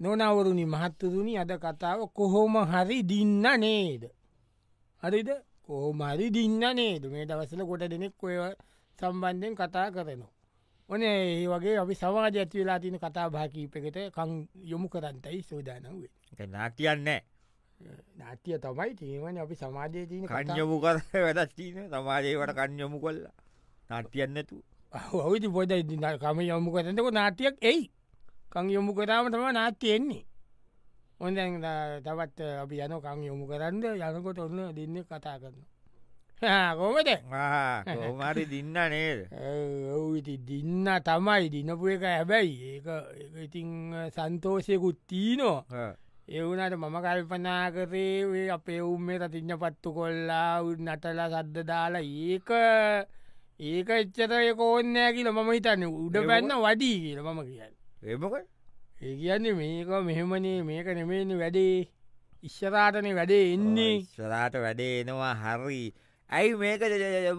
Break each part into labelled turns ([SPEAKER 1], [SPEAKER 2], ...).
[SPEAKER 1] නොනවරුණි මහත්තතුනි අද කතාව කොහොම හරි දින්න නේද. හරිද කෝමරි දින්න නේද මේ දවසල කොට දෙනෙක් ඔය සම්බන්ධයෙන් කතා කරනවා. ඕන ඒ වගේ අපි සවාජ ඇත්වෙලා තින කතා භාකීපකට කං යොමු කරන්තයි සෝදානවේ.
[SPEAKER 2] නාටියන්න
[SPEAKER 1] නාතිය තමයි තිීමන අපි සමාජය තියන
[SPEAKER 2] කණ්යමු කර වැඩස්ටීන සමාජයවට කණ්යමු කොල්ලා නාටියන්නතු
[SPEAKER 1] ඔවිති පොද කම යොමු කරතක නාතියක් එයි කං යොමු කරාම තම නාතියෙන්නේ ඔොද තවත් අපි යන කං යොමු කරන්න යනකොට ඔන්න දෙන්න කතා කරන්න කොමද
[SPEAKER 2] කෝමරි දින්න නේද
[SPEAKER 1] ඔවිති දින්න තමයි දිනපු එක හැබැයි ඒක ඒක ඉතිං සන්තෝෂයකුත් තිීනවා එවුනට මම කල්පනා කරේ ඔය අපේ උම්මේ රතිං්ඥ පත්තු කොල්ලා උන් නටලා සද්ද දාලා ඒක ඒක එච්චතය කෝන්නෑ කියල මම හිතන්න උඩ
[SPEAKER 2] ඒකම-
[SPEAKER 1] පැන්න වඩී කියල මම කියන්න
[SPEAKER 2] එමක
[SPEAKER 1] ඒ කියන්නේ මේක මෙහෙමනේ මේක නෙමේනි වැඩේ ඉශ්්‍යරාටනය වැඩේ එන්නේ
[SPEAKER 2] ස්රාට වැඩේනවා හරි ඇයි මේක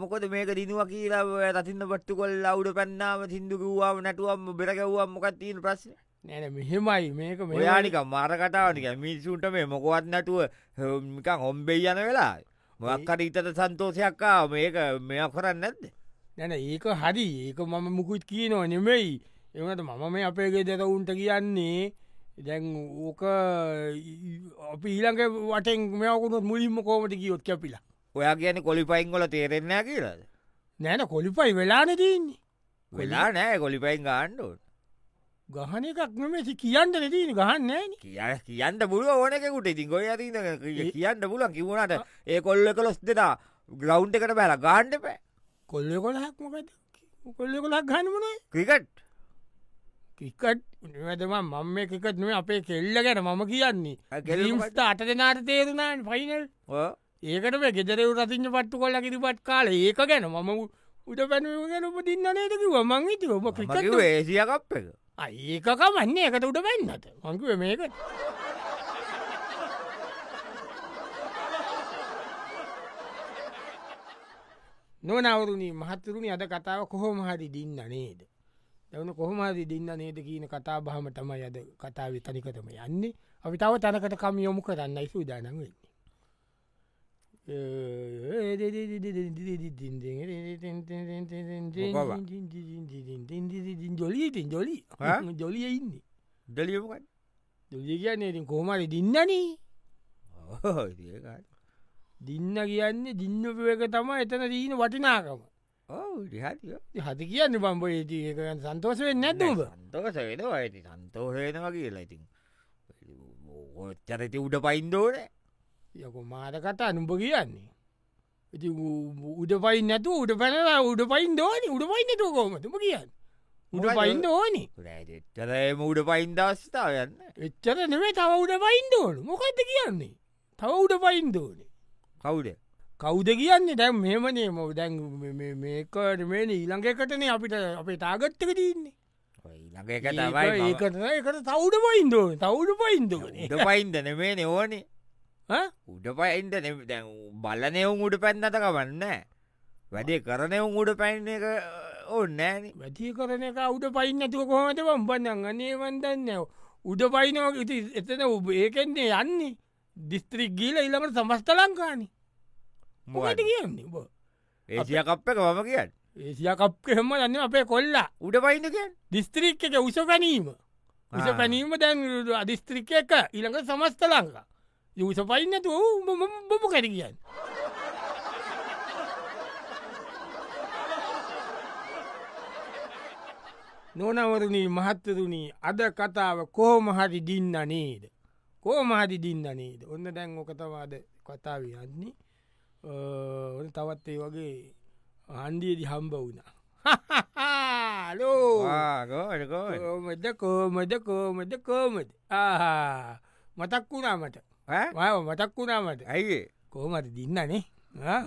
[SPEAKER 2] මොකද මේක දිනුව කියලා ඔය රතින්න පට්ටු කොල් අවුඩ පැන්නාව සිින්දු කිව්වාම නැටුවම් බෙරකව්වා මොකක් තිීන ප්‍රශ්න
[SPEAKER 1] නැන මෙහෙමයි මේක මෙහෙමයි.
[SPEAKER 2] ඔයානික මාරකටාවනික මිනිසුන්ට මේ මොකොවත් නැටුව මිකං ඔම්බෙයි යන වෙලා මොක්කට ඉතට සන්තෝෂයක්කා මේක මෙයක් කරන්න ඇත්ද
[SPEAKER 1] නැන ඒක හරි ඒක මම මුකුත් කියනව නෙමෙයි එමට මම මේ අපේගේ දෙත උන්ට කියන්නේ දැන් ඕක අපි ඊළඟ වටෙන් මෙකුණුත් මුලින්ම කෝමට කියයොත් කැපිලා
[SPEAKER 2] ඔයා කියන කොලිපයින්ගොල තේරෙන්න කියලාද
[SPEAKER 1] නැන කොලිපයි වෙලානතින්නේ
[SPEAKER 2] වෙලා නෑ කොලිපයින් ගාණ්ඩු
[SPEAKER 1] ගහන එකක් නොමසි කියන්න නතින ගහන්නෑන
[SPEAKER 2] කිය කියන්න පුළුව ඕනකුට ඉතින් ගොය ඇති කියන්න පුලන් කිවුණට ඒ කොල්ල කොලොස් දෙනා ග්‍රවන්් එකට බැලා ගාණ්ඩ පෑ
[SPEAKER 1] කොල්ල කොලහක් මොකද කොල්ල කොලක් ගන්නමනේ
[SPEAKER 2] ක්‍රිකට්
[SPEAKER 1] කිකට් නිවැදම මම මේ එකකත් නේ අපේ කෙල්ල ගැන මම කියන්නේ
[SPEAKER 2] ආ, කෙල්ල
[SPEAKER 1] ගෙලිම්ස්ට අට දෙනාට තේරුණන් ෆයිනල් ඒකට මේ ගෙදරව රතිංච පට්ටු කොල්ල කිරිපත් කාල ඒක ගැන මම උ- උඩ පැනගෙන උප දින්න නේදකිව මං හිත ඔබ ක්‍රිකට
[SPEAKER 2] ඒසියකප් එක
[SPEAKER 1] ඒකකමන්නේ එකට උඩ පැන්නට මංකුව මේකට නොනවරුණී මහත්තුරුණි අද කතාව කොහොම හරි දින්න නේද. දැවන කොහොමහරි දින්න නේද කියන කතා බහම තමයි අද කතාව තනිකටම යන්නේ අපි තව තැනකට කම යොමු කරන්නයි සූදානන් වෙන්නේ. ජොලීතින් ජොලි
[SPEAKER 2] ඈ?
[SPEAKER 1] ජොලිය ඉන්නේ
[SPEAKER 2] දලියමකත්
[SPEAKER 1] ජොලිය කියන්නේ ඉතින් කොහමරි දින්නනේ දින්න කියන්නේ දින්න පක තම එතන දීන වටිනාකම
[SPEAKER 2] ඕ රිහතිය
[SPEAKER 1] හති කියන්න පම්බ ඒකන් සන්තෝසවෙන් නැතුව
[SPEAKER 2] සන්තෝස වෙනවා ඇති සන්තෝහයෙනවා කියලා ඉතින් චරති උඩ පයින්දෝන
[SPEAKER 1] යකු මාර කතා නුඹ කියන්නේ ඉති උඩ පයින් නැතු උඩ පැනලා උඩ පයින් දෝනි උඩ පයින්න තෝකෝමතුම කියන්න උඩ
[SPEAKER 2] මොකද්ද?
[SPEAKER 1] පයින් ඕනි
[SPEAKER 2] චරයම උඩ පයින් දස්ථාව යන්න
[SPEAKER 1] එච්චර නෙවේ තව උඩ පයින් දෝනු මොකක්ද කියන්නේ තව උඩ පයින් දෝනේ
[SPEAKER 2] කවුඩ
[SPEAKER 1] කෞද කියන්නේ දැම් මෙමනේ මො දැන් මේකට මේ ඊළඟකටනේ අපිට අපේ තාගත්තක තින්නේ
[SPEAKER 2] ළඟක තමයි
[SPEAKER 1] ඒකට ඒකට තවුඩ පයින්ද තවුඩ පයින්ද
[SPEAKER 2] උඩ පයින්ද නෙමේ නෙවනේ උඩ පයින්ද නෙ- දැන් බලනෙවුම් උඩ පැන්නට කවන්න වැඩේ කරනෙවුම් උඩ පැන්න එක ඕන්නෑන
[SPEAKER 1] වැති කරන එක උඩ පයින්න ඇතුව කොහමට පම්බන්න අනේ වන්දන්න උඩ පයිනෝ ඉති එතන ඔබ ඒකෙන්නේ යන්නේ දිස්ත්‍රික් ගීල ඉළමට සමස්ත ලංකානි මොකට කියන්නේ ඔබ
[SPEAKER 2] ඒසිය කප්පක මම කියන්න
[SPEAKER 1] ඒසියකප් හෙම දන්න අපේ කොල්ලා
[SPEAKER 2] උඩ පයින්න කියන්න
[SPEAKER 1] දිස්ත්‍රික් එක උස පැනීම උස
[SPEAKER 2] ආ.
[SPEAKER 1] පැනීම දැන් අධිස්ත්‍රික එක ඉළඟ සමස්ත ලංකා යුස පයින්නතු බොම කැර කියන්න නොනවරණී මහත්තතුනී අද කතාව කෝමහරි දින්න නේද. කෝමහරි දින්න නේද ඔන්න දැන් ඕකතවාද කතාව යන්නේ අ, ඔන්න තවත් ඒ වගේ හන්දියදි හම්බ වුණා ලෝ
[SPEAKER 2] ආගෝඩකෝ
[SPEAKER 1] කෝමද කෝමද කෝමද කෝමද ආහා. මතක් වුණා මට මාව මතක් වුණා මට
[SPEAKER 2] ඇයිඒ
[SPEAKER 1] කෝමට දින්නනේ ආ.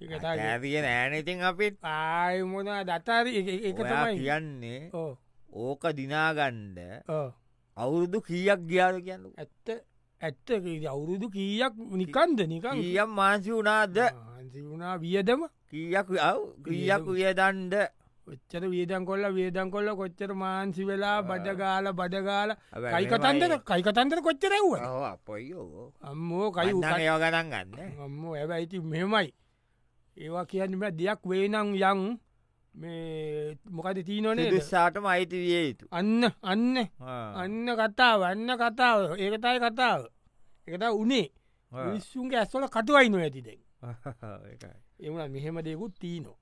[SPEAKER 1] ඒක තමයි.
[SPEAKER 2] ඇතිය නෑනඉතින් අපිත්
[SPEAKER 1] ආයි මොනා දතාර එක
[SPEAKER 2] ඔයා
[SPEAKER 1] තමයි
[SPEAKER 2] කියන්නේ
[SPEAKER 1] ඕ,
[SPEAKER 2] ඕක දිනාගණ්ඩ
[SPEAKER 1] ඕ.
[SPEAKER 2] අවුරුදු කියක් ගියාල කියන්න
[SPEAKER 1] ඇත්ත ඇත්ත ඒ අවුරුදු කීයක් නිකන්ද නිකන්
[SPEAKER 2] කියියම් මාන්සි වුණාද
[SPEAKER 1] ආ, හන්සි වුණා වියදම
[SPEAKER 2] කියක් අව් කියක් වියදන්ඩ
[SPEAKER 1] ඔච්චර වියදන් කොල්ල වියදන් කොල්ල කොච්චර මාන්සි වෙලා බඩගාල බඩගාල
[SPEAKER 2] හැබැයි
[SPEAKER 1] කයිකතන්දර
[SPEAKER 2] මේවයි-
[SPEAKER 1] කයිකතන්දර කොච්චරැව්ව
[SPEAKER 2] ඔව්, අපොයියෝ
[SPEAKER 1] අම්මෝ කයි උකන්-
[SPEAKER 2] කයෝ ගනන් ගන්න
[SPEAKER 1] අම්මෝ ඇබැයිති මෙමයි ඒවා කියන්නම දෙයක් වේනං යං මේ මොකද තිීනොනේ
[SPEAKER 2] දුස්සාටම අයිති විය යුතු
[SPEAKER 1] අන්න අන්න අන්න කතාව අන්න කතාව ඒකතයි කතාව එකට උනේ විස්සුන්ගේ ඇස්වල කටුවයි නො ඇතිදෙන් එවුණ මෙහෙම දෙකුත් තිීනෝ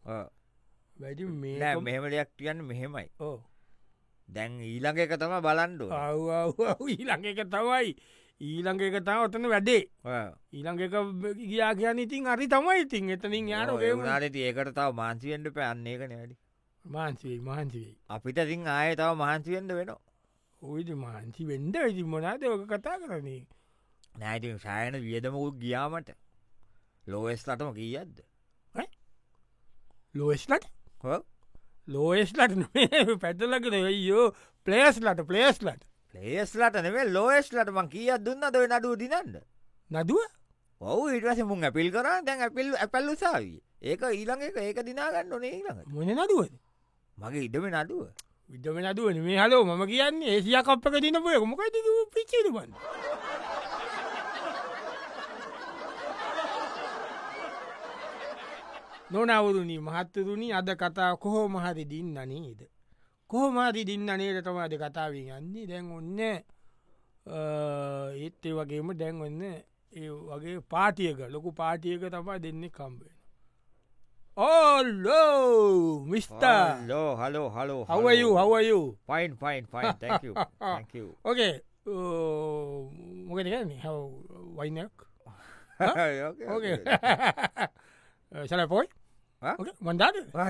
[SPEAKER 1] වැඩි මේ
[SPEAKER 2] මෙහෙම දෙයක් කියන්න මෙහෙමයි
[SPEAKER 1] ඕ
[SPEAKER 2] දැන් ඊළඟ එක තම බලන්ඩු
[SPEAKER 1] අව් ඊළඟ එක තවයි ඊළඟ එක තව ඔතන වැඩේ ඊළඟ එක බ- ගියා කියන්න ඉතින් අරි තමයි ඉතින් එතනින් යාර
[SPEAKER 2] ඒනාට ඒකට තාව මාන්සිවෙන්ට පැන්නේ එක නෑඩි
[SPEAKER 1] මාන්සිවෙයි මහන්සිවෙයි
[SPEAKER 2] අපිට සිං ආය තාව මහන්සිවෙන්ට වෙන
[SPEAKER 1] ඔයිද මාන්සි වෙන්ඩ වෙති මොනාද ඕක කතා කරන්නේ
[SPEAKER 2] නෑති සෑයන වියදමකුත් ගියාමට ලෝවෙස්ලටම කියද්ද
[SPEAKER 1] ලෝස්ලට
[SPEAKER 2] හො?
[SPEAKER 1] ලෝස්ලට පැටලකන යෝ පලේස්ලට පලේස්ලට
[SPEAKER 2] ලේස්ලට නෙේ ලෝස්ලට මං කියත් දුන්න දොයි නඩුව දිනන්න
[SPEAKER 1] නදුව
[SPEAKER 2] ඔවු ඉටවස මුන් ඇපිල් කර දැන් ඇපිල් ඇපැල් උසාවී ඒක ඊළඟ එක ඒක දිනාගන්න ඕනේ ඊළඟට
[SPEAKER 1] මොන නදුවද
[SPEAKER 2] මගේ ඉඩම නඩුව
[SPEAKER 1] විදම නදුවන මේ හලෝ මම කියන්නේ ඒසිය කප්පක දිනපුය මොකයිද පිචේරු බන්න නොනවුරුණි මහත්තරුණි අද කතා කොහෝ මහරි දින්න නේද. කොහොමහරි දින්න නේට තමාද කතාවී ගන්නේ දැන් ඔන්න ඒත් ඒ වගේම දැන් ඔන්න ඒ වගේ පාටියක ලොකු පාටියක තමා දෙන්නේ කම්බෙන. Hello mister!
[SPEAKER 2] ලෝ hello hello
[SPEAKER 1] How are you? How are you?
[SPEAKER 2] Fine fine පයින් තැක
[SPEAKER 1] Okay. Uh, මොකද කියන්නේ හව වයිනයක් ඕකේ Uh, සලපොයි
[SPEAKER 2] Huh?
[SPEAKER 1] මන්දාද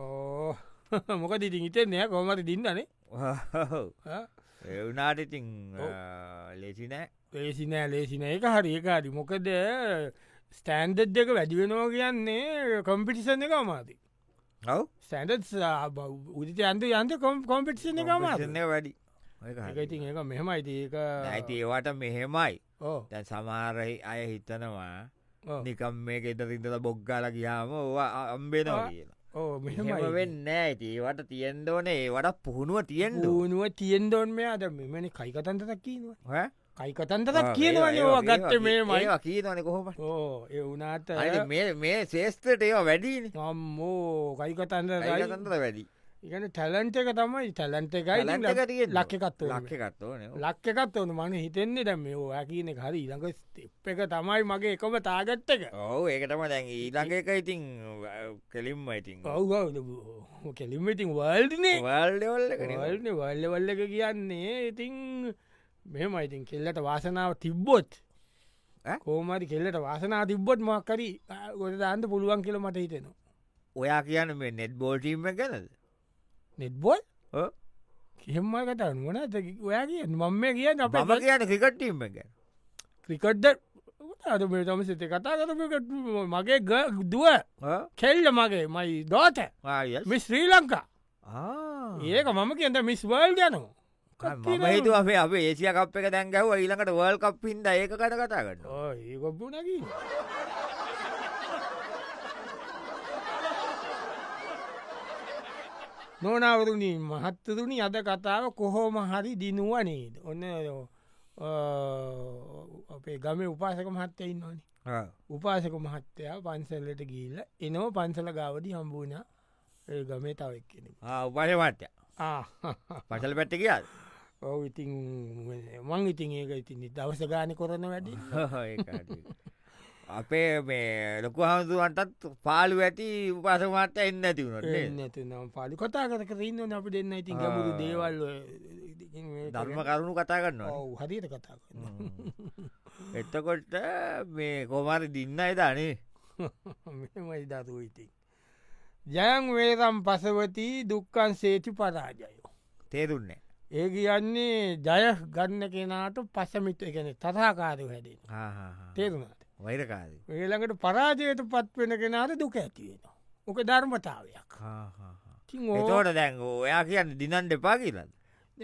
[SPEAKER 1] Oh, මොකද ඉතින් ඉතෙන් නෑ කොමට දින්නනේ
[SPEAKER 2] එවනාට Eh, ඉතින්
[SPEAKER 1] ඔව්.
[SPEAKER 2] ලෙසි නෑ
[SPEAKER 1] ලේසිනෑ ලේසින එක හරි එක හරි මොකද ස්ටෑන්ඩඩ් එක වැඩි වෙනවා කියන්නේ කොම්පිටිසන් එක අමාති
[SPEAKER 2] ඔව්
[SPEAKER 1] ස්ටන්ඩඩ් උදිත අන්ද යන්ද කොම්පිටිෂන් එක අමාත
[SPEAKER 2] ප්‍රශ්න එක වැඩි
[SPEAKER 1] එක ඉතින් uh, ඒක මෙහෙමයිති ඒක
[SPEAKER 2] ඇති ඒවට මෙහෙමයි
[SPEAKER 1] ඕ
[SPEAKER 2] දැන් සමාරහි අය හිතනවා
[SPEAKER 1] ඕ.
[SPEAKER 2] නිකම් මේ එත ඉඳල බොග්ගල ගියාම ඕවා අ- අම්බෙනවා
[SPEAKER 1] ආ,
[SPEAKER 2] කියලා
[SPEAKER 1] ඕ
[SPEAKER 2] මෙහෙම
[SPEAKER 1] මෙහෙමයි
[SPEAKER 2] වෙන්න ඇති ඒවට තියෙන්දෝන ඒවට පුහුණුව තියෙන්ඩ
[SPEAKER 1] ඌනුව තියෙන්දෝන් මේ අද මෙමනි කයිකතන්තක් කියනවා කයිකතන්තක් කියනවනේ ඕ ගත්ත මේ මයි
[SPEAKER 2] කියීතන කොහොම
[SPEAKER 1] ඕ ඒ වනාට
[SPEAKER 2] මේ ශේස්ත්‍රට ඒවා වැඩීන
[SPEAKER 1] අම්මෝ කයිකතන්ද
[SPEAKER 2] ඇතන්තර වැඩි
[SPEAKER 1] ඉගන ටැලන්ට එක තමයි ටැලන්ට එකයි ලක්කත්
[SPEAKER 2] ලක්කත්ව
[SPEAKER 1] ලක්කත් ඕන මන හිතෙන්නේ දැම මේ ඕ කියන එක හරි ඉළඟ ස්ටප් එක තමයි මගේ එකම තාගත්ත එක
[SPEAKER 2] ඔවු ඒකටම දැන් ඊළඟ එක ඉතින් කෙලින්ම ඉතින්
[SPEAKER 1] ඔව් කෙලිමිටින් වල්ඩනේ
[SPEAKER 2] වල්ඩවල්ල
[SPEAKER 1] වල්න වල්ල වල්ල එක කියන්නේ ඉතිං මෙම ඉතින් කෙල්ලට වාසනාව තිබ්බොත්
[SPEAKER 2] ඈ?
[SPEAKER 1] කෝමරි කෙල්ලට වාසනා තිබ්බොත් මක්කරි ගොඩ දාන්ත පුළුවන් කියල මට හිතෙනවා
[SPEAKER 2] ඔයා කියන්න මේ නෙට් බෝටීම ගැනද
[SPEAKER 1] නෙට්බොල්
[SPEAKER 2] ඔව්.
[SPEAKER 1] කියෙම්මල් කතා වන ඔයා කිය මම මේ කියන්න අප
[SPEAKER 2] පම කියන ක්‍රිකට්ටීම ගැන
[SPEAKER 1] ක්‍රිකට්ද අද මේ තම සිත කතා කරකට මගේ ග දුව කෙල්ල මගේ මයි දෝත
[SPEAKER 2] ආ
[SPEAKER 1] මි ශ්‍රී ලංකා ඒක මම කියන්ට මිස් වල් යනවා
[SPEAKER 2] මම හිතු අපේ අප ඒසිය කප් එක දැන් ගැව ඊළඟට වල් කප් හින්ද ඒක කට කතා කරන්න
[SPEAKER 1] ඒගොබ්බුනකි නොනවරුණී මහත්තතුනි අද කතාව කොහෝම හරි දිනුවනේද ඔන්න අ, අපේ ගම උපාසක මහත්තයයින්න ඕනි උපාසක මහත්තයා පන්සල්ලට ගිල්ල එනෝ පන්සල ගාවදි හම්බුණ ගමේ තවක් කෙන
[SPEAKER 2] උපසමත්ය පසල පැත්ත කියාද
[SPEAKER 1] ඔව ඉතින් මං ඉතින් ඒක ඉතින් දවස ගාන කරන වැඩි
[SPEAKER 2] අපේ මේ ලොකු හමුදුවන්ටත් පාලු ඇති උපසමට එන්න ඇතිවුණට
[SPEAKER 1] නැති නම් පාලි කතා කර කරන්න අප දෙන්න ඉතින්
[SPEAKER 2] ආ.
[SPEAKER 1] ගැමුරු දේවල්
[SPEAKER 2] ධර්ම කරුණු කතා කරන්නවා
[SPEAKER 1] හරියට කතා කරනවා.
[SPEAKER 2] එත්තකොට මේ කොමර දින්න අයදානේ
[SPEAKER 1] මෙමයි දරුව ඉතින් ජයන් වේරම් පසවති දුක්කන් සේති පරාජයෝ
[SPEAKER 2] තේරුන්නේ
[SPEAKER 1] ඒ කියන්නේ ජය ගන්න කෙනාට පසමිත එකන තසාකාරය හැදෙන තේරුණට
[SPEAKER 2] වෛරකාද
[SPEAKER 1] ඒළඟට පරාජයට පත්වෙන කෙනාට දුක ඇතිවෙනවා ඕක ධර්මතාවයක් ඉතින් ඕ-
[SPEAKER 2] එතෝට දැන් ඔයා කියන්න දිනන් දෙපා කියලන්න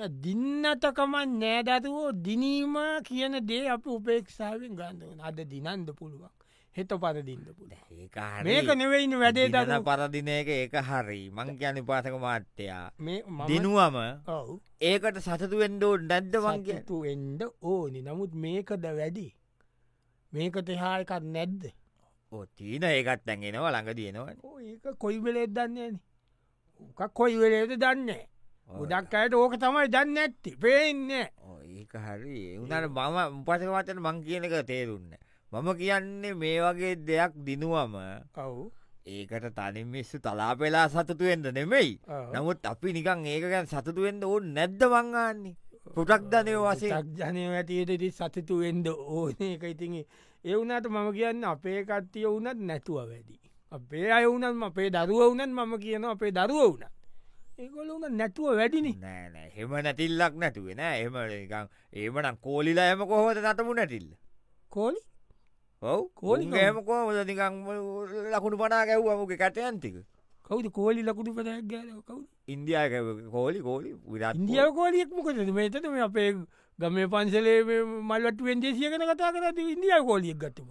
[SPEAKER 1] ය දින්නටකමන් නෑදතුවෝ දිනීම කියන දේ අප උපේක්ෂාවෙන් ගන්ධවන අද දිනන්ද පුළුවන් හෙත පරදින්න පුල මේක
[SPEAKER 2] ඒකාරක
[SPEAKER 1] නෙවෙයින්න වැඩේ දර
[SPEAKER 2] පරදින එක ඒක හරි මං කියන පාසක මාත්‍යයා
[SPEAKER 1] මේ මම
[SPEAKER 2] දිනුවම
[SPEAKER 1] ඔව්
[SPEAKER 2] ඒකට සතුතුවෙන්ඩෝ නැද්ද වන්ගේ
[SPEAKER 1] සතුටු එන්ඩ ඕනි නමුත් මේකද වැඩි මේක තෙහා එකක් නැද්ද
[SPEAKER 2] ඔතින ඒකත් ඇගෙනවා ළඟ තියෙනවන
[SPEAKER 1] ඕ ඒක කොයි වෙලෙත් දන්නේන ඕක කොයි වෙලේද දන්නේ ගොඩක් අයට ඕක තමයි දන්න ඇත්ති පේන්නේ
[SPEAKER 2] ඒක හරි උනට මම උපසකවතන මං කියන එක තේරුන්න මම කියන්නේ මේ වගේ දෙයක් දිනුවම
[SPEAKER 1] ඔව්
[SPEAKER 2] ඒකට තනින් මිස්සු තලා පෙලා සතුතුවෙන්ද නෙමෙයි
[SPEAKER 1] ඔව්.
[SPEAKER 2] නමුත් අපි නිකන් ඒකගැන් සතුතුවෙන්ද ඕ නැද්ද වංගන්නේ පුටක් දනය වසේ
[SPEAKER 1] ජනය ඇතියටට සතුතු වෙන්ඩ ඕන එක ඉතින් ඒ වුණට මම කියන්න අපේ කට්ටිය වුනත් නැතුව වැඩි. අපේ අය වුනත් අපේ දරුව වුනත් මම කියන අපේ දරුව වුනත්. ඒකොල වුන නැතුව වැඩිනි
[SPEAKER 2] නෑනෑ හෙම නැතිල්ලක් නැතුවෙන එම නිකං ඒමනම් කෝලිලා එම කොහොද නටමු නැටිල්ල
[SPEAKER 1] කෝලි
[SPEAKER 2] ඔව
[SPEAKER 1] කෝලි
[SPEAKER 2] කෝලින් ඒම කෝමද නිකං ලකුණු පනා ගැව්වමගේ කටයන්තික
[SPEAKER 1] කවුද කෝලි ලකුටු පදැක් ගල කවු
[SPEAKER 2] ඉන්දයා කෝලි කෝලි විරත්
[SPEAKER 1] ඉන්දියාව කෝලියෙක් මොකද මේතන මේ අපේ ගමේ පන්සලේ මල්ලට වෙන්දේසිය කන කතා කරති ඉන්දියාව කෝලියෙක් ගත්තම.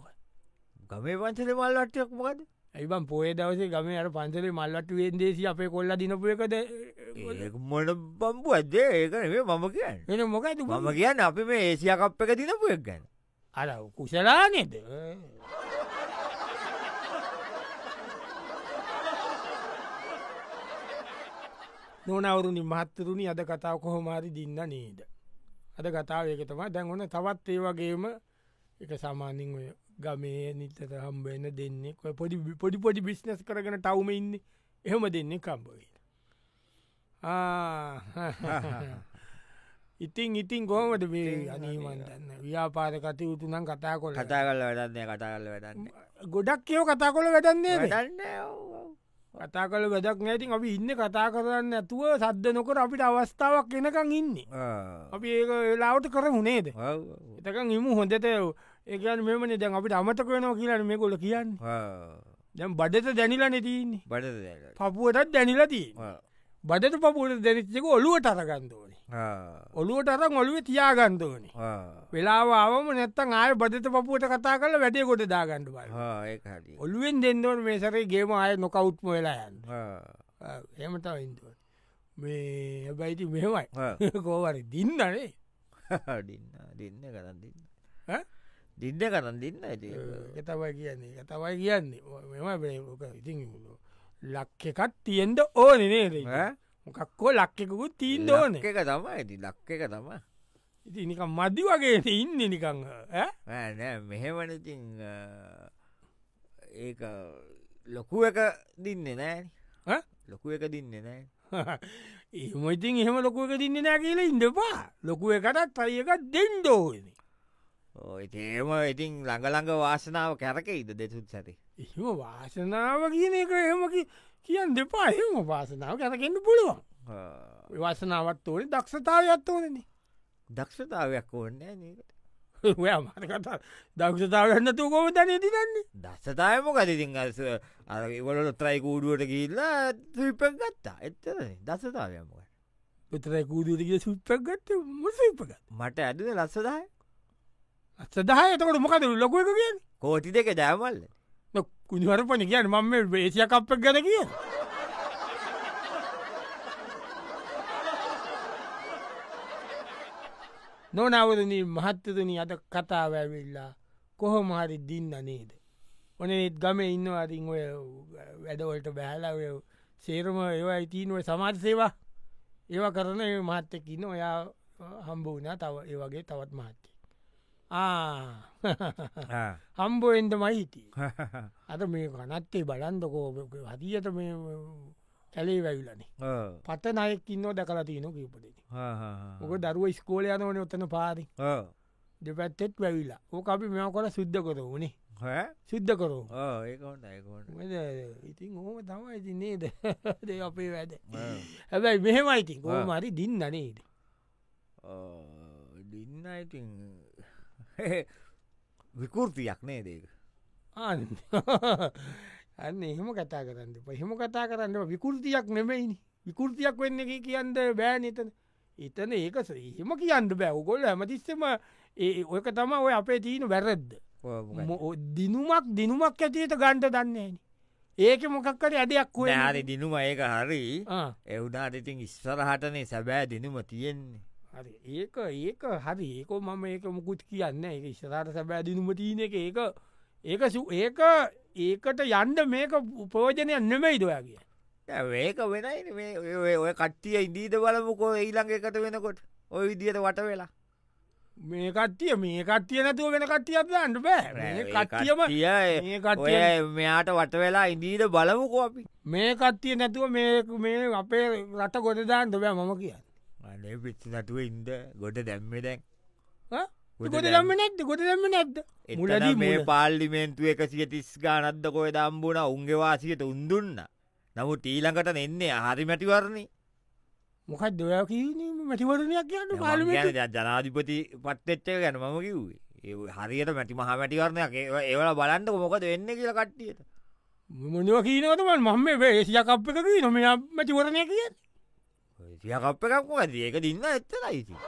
[SPEAKER 2] ගමේ පංචල මල්ලට්ටයක් මොකද
[SPEAKER 1] ඇයිබන් පොය දවසේ ගම අර පන්සලේ මල්ලට වෙන්දේසි අපේ කොල්ල දිනපුයකද
[SPEAKER 2] ඒක මොන බම්පු ඇදේ ඒකනේ මම කියන්න
[SPEAKER 1] එ මොකයි
[SPEAKER 2] මම කියන්න අපි මේ ඒසිය කප් එක තිනපුයක් ගැන
[SPEAKER 1] අර කුසලා නෙද නොනවරුණි මත්තරුණි අද කතාව කොහොමරි දින්න නේද. අද කතාව ඒක තමා දැන් ඕන තවත් ඒ වගේම එක සාමානින් ඔය ගමේ නිතත හම්බෙන දෙන්නේ ඔය පොඩි බි- පොඩි පොඩි බිස්්නස් කරගෙන ටවම ඉන්න එහෙම දෙන්නේ කම්බගෙන. ඉතින් ඉතින් ගොහමට මේ අනීමන්දන්න ව්‍යාපාර කතයුතු නම් කතා කොල
[SPEAKER 2] කතා කල්ල වැඩන්නේ කතා කල්ල වැඩන්න
[SPEAKER 1] ගොඩක් කියව කතා කොල වැඩන්නේ නේද?
[SPEAKER 2] වැඩන්න
[SPEAKER 1] කතා කළ වැඩක් නැතින් අපි ඉන්න කතා කරන්න ඇතුව සද්ධ නොකර අපිට අවස්ථාවක් එනකං ඉන්නේ. අපි ඒ වෙලාවට කර හුනේද. එතකං ඉම හොඳත ඒකන් මෙමන දැන් අපිට අමතක වෙනවා කියලන මේ කොල කියන්න දැම් බඩත දැනිලා නැතින්නේ
[SPEAKER 2] බඩ
[SPEAKER 1] පපුුවටත් දැනිලති බඩට පපුුවට දැනිච්චක ඔලුව ටරගන්දෝනි ඔලුවට අරං ඔලුව තියාගන්දෝනි වෙලාවාවම නැත්තන් ආය බදත පපුුවට කතා කල වැඩේ ගොට දාගණ්ඩ බල
[SPEAKER 2] ඒක හරි
[SPEAKER 1] ඔලුවෙන් දෙන්නවට මේසරේ ගේම ආය නොකවුත්ම වෙලායන්න එමතාව ඉන්දුව මේ හැබැයිති මෙමයි කෝවරි දින්නනේ
[SPEAKER 2] දින්න දින්න කරන්න දින්න
[SPEAKER 1] ඈ?
[SPEAKER 2] දින්න කරන්න දින්න ඇති
[SPEAKER 1] ගතවයි කියන්නේ ගතවයි කියන්නේ මෙම බේක ඉතින් ලක්කකත් තියෙන්ට ඕන නේද මොකක්කෝ ලක්කෙකුකුත් තිීන් ඕන
[SPEAKER 2] එක තම ඇති ලක්ක එක තම
[SPEAKER 1] ඉති නික මදි වගේ ඉන්න නිකං ඈ?
[SPEAKER 2] නෑ මෙහෙමනතින් ඒ ලොකු එක දින්න නෑ
[SPEAKER 1] ඈ?
[SPEAKER 2] ලොකු එක දින්න නෑ
[SPEAKER 1] එහෙම ඉතින් එහෙම ලොකුවක දින්න නෑ කියලා ඉඳපා ලොකුව එකටත් අයකත් දෙන්ඩෝන
[SPEAKER 2] ඒම ඉතින් ළඟළඟ වාසනාව කැරකයිද දෙසුත් සැති
[SPEAKER 1] එහෙම වාසනාව කියන එක එහෙම කි- කියන් දෙපා එහෙම වාසනාව කැරකෙන්ට පුළුවන් වසනාවත් ඕන දක්ෂතාවයත් ඕනන
[SPEAKER 2] දක්ෂතාවයක් ඕන්න නකට
[SPEAKER 1] ඔයා මට කතා දක්ෂතාවන්න තුකෝම තැන තිරන්නේ
[SPEAKER 2] දස්සතායම ගතිතින් අස අරවලට ත්‍රයි කූඩුවට කියල්ලා ත්‍රීපක් ගත්තා එත්තර දස්සතාවයමක
[SPEAKER 1] විතරයි කූදරගේ සුත්තක්ගත්ත මුසපගත්
[SPEAKER 2] මට ඇදන ලස්සදාය
[SPEAKER 1] සදහයතකට මොකද ලොකක කියන්න
[SPEAKER 2] කෝටි දෙක දෑමල්ල
[SPEAKER 1] කුණිවර පණ කියන්න මම වේශය කප්පක් ගැන කිය නොනවරණ මහත්තතුනි අද කතාව ඇවිල්ලා කොහොම හරි දින්න නේද ඔන ඒත් ගම ඉන්නවාතින් ඔය වැඩවලට බැහලවය සේරම ඒවා ඉතිනුව සමාර් සේවා ඒවා කරන මහත්තකින්න ඔයා හම්බ වනා තව ඒ වගේ තවත් මහත්තේ Ah, ආ හම්බෝෙන්ද මහිතී අද මේ කනත්තේ බලන්දකෝ හදිියත මේ කැලේ වැැවිලනේ පත නයෙක් ඉන්න දැකලා තියන කිවපදෙන ඕක දරුව ස්කෝල යනවන ඔත්තන පාරි දෙපැත්තෙත් වැැවිලා ඕක අපි මෙම කොට සුද්ධ කර වනේ සිද්ධ කරෝ
[SPEAKER 2] ඒකොන්න ඒකොන්න
[SPEAKER 1] ඉතින් ඕම තමයි ඉති නේද දේ අපේ වැද හැබැයි මෙහෙමයිති
[SPEAKER 2] ආ.
[SPEAKER 1] ගෝමරි දින්න නේද
[SPEAKER 2] දින්න ඉතින් විකෘතියක් නේ දේක
[SPEAKER 1] ආන්න අන්න එහෙම කතා කරන්න පහෙම කතා කරන්න විකෘතියක් නෙමයිනි විකෘතියක් වෙන්න එක කියන්න බෑන එතන එතන ඒක එහෙම කියන්න බෑ ඔගොල් ඇමතිස්සම ඒ ඔයක තම ඔය අපේ තියන වැරද්ද මො- දිනුමක් දිනුමක් ඇතිට ගන්ට දන්නේන ඒක මොකක්කට ඇදයක් වේ
[SPEAKER 2] හරි දිනුම ඒක හරි එවුනාට ඉතින් ඉස්සරහටනේ සැබෑ දිනුම තියෙන්නේ
[SPEAKER 1] හරි ඒක ඒක හරි ඒක මම ඒක මුකුත් කියන්න ඒ ඉස්සරට සැබෑ දිනුම තියන එක ඒක ඒක සු- ඒක ඒකට යන්ඩ මේක ප්‍රෝජනය නෙමයි දොයා කිය
[SPEAKER 2] දැන් ඒක වෙනයි මේ ඔය- ඔය- ඔය කට්ටිය ඉදීද බලමුකෝ ඒළඟ එකට වෙනකොට ඔය විදියට වට වෙලා
[SPEAKER 1] මේකත්තිය මේකත්තිය නැතුව වෙන කට්ටියත් අන්ඩ බෑ
[SPEAKER 2] ඒ
[SPEAKER 1] කට්ටියම
[SPEAKER 2] කට්ටිය
[SPEAKER 1] මේ
[SPEAKER 2] ඔය
[SPEAKER 1] කට්ටිය
[SPEAKER 2] මෙයාට වට වෙලා ඉදීද බලමුකෝ අපි
[SPEAKER 1] මේ කත්තිය නැතුව මේ මේ අපේ රට ගොඩදාන්න බෑ මම කියන්න
[SPEAKER 2] අනේ පිත්ති නටුව ඉන්ද ගොඩ දැම්ම දැන්
[SPEAKER 1] ඈ?
[SPEAKER 2] ගොඩ
[SPEAKER 1] ගොඩ
[SPEAKER 2] දැම්ම.
[SPEAKER 1] දම්ම නැද්ද ගොඩ දම්ම නැද්ද
[SPEAKER 2] එතන
[SPEAKER 1] මුලදී
[SPEAKER 2] මේ
[SPEAKER 1] මුල.
[SPEAKER 2] පාල්ලිමේන්තු එකසිය තිස් ගානත්ද කොය දම්බුණ උන්ගේවාසියට උන්දුන්න නමුත් ඊළඟට එන්නේ හරි මැටිවරණි
[SPEAKER 1] මොකක් දොයා කියීම මැතිවරණයක් කියන්න පාලම
[SPEAKER 2] ජනාධිපති පත්තච්චක ගැන මම කිව්වේ ඒ හරියට මැටි මහ මැටිවරණයක් ඒව- ඒවල බලන්ට මොකද වෙන්න කියලා කට්ටියට
[SPEAKER 1] මොනව කියීනවතමන් මම ඒසියකප්පක නොම මැතිවරණය කිය
[SPEAKER 2] සියකප් එකක් මොකද ඒක දින්න එත්තලයිසි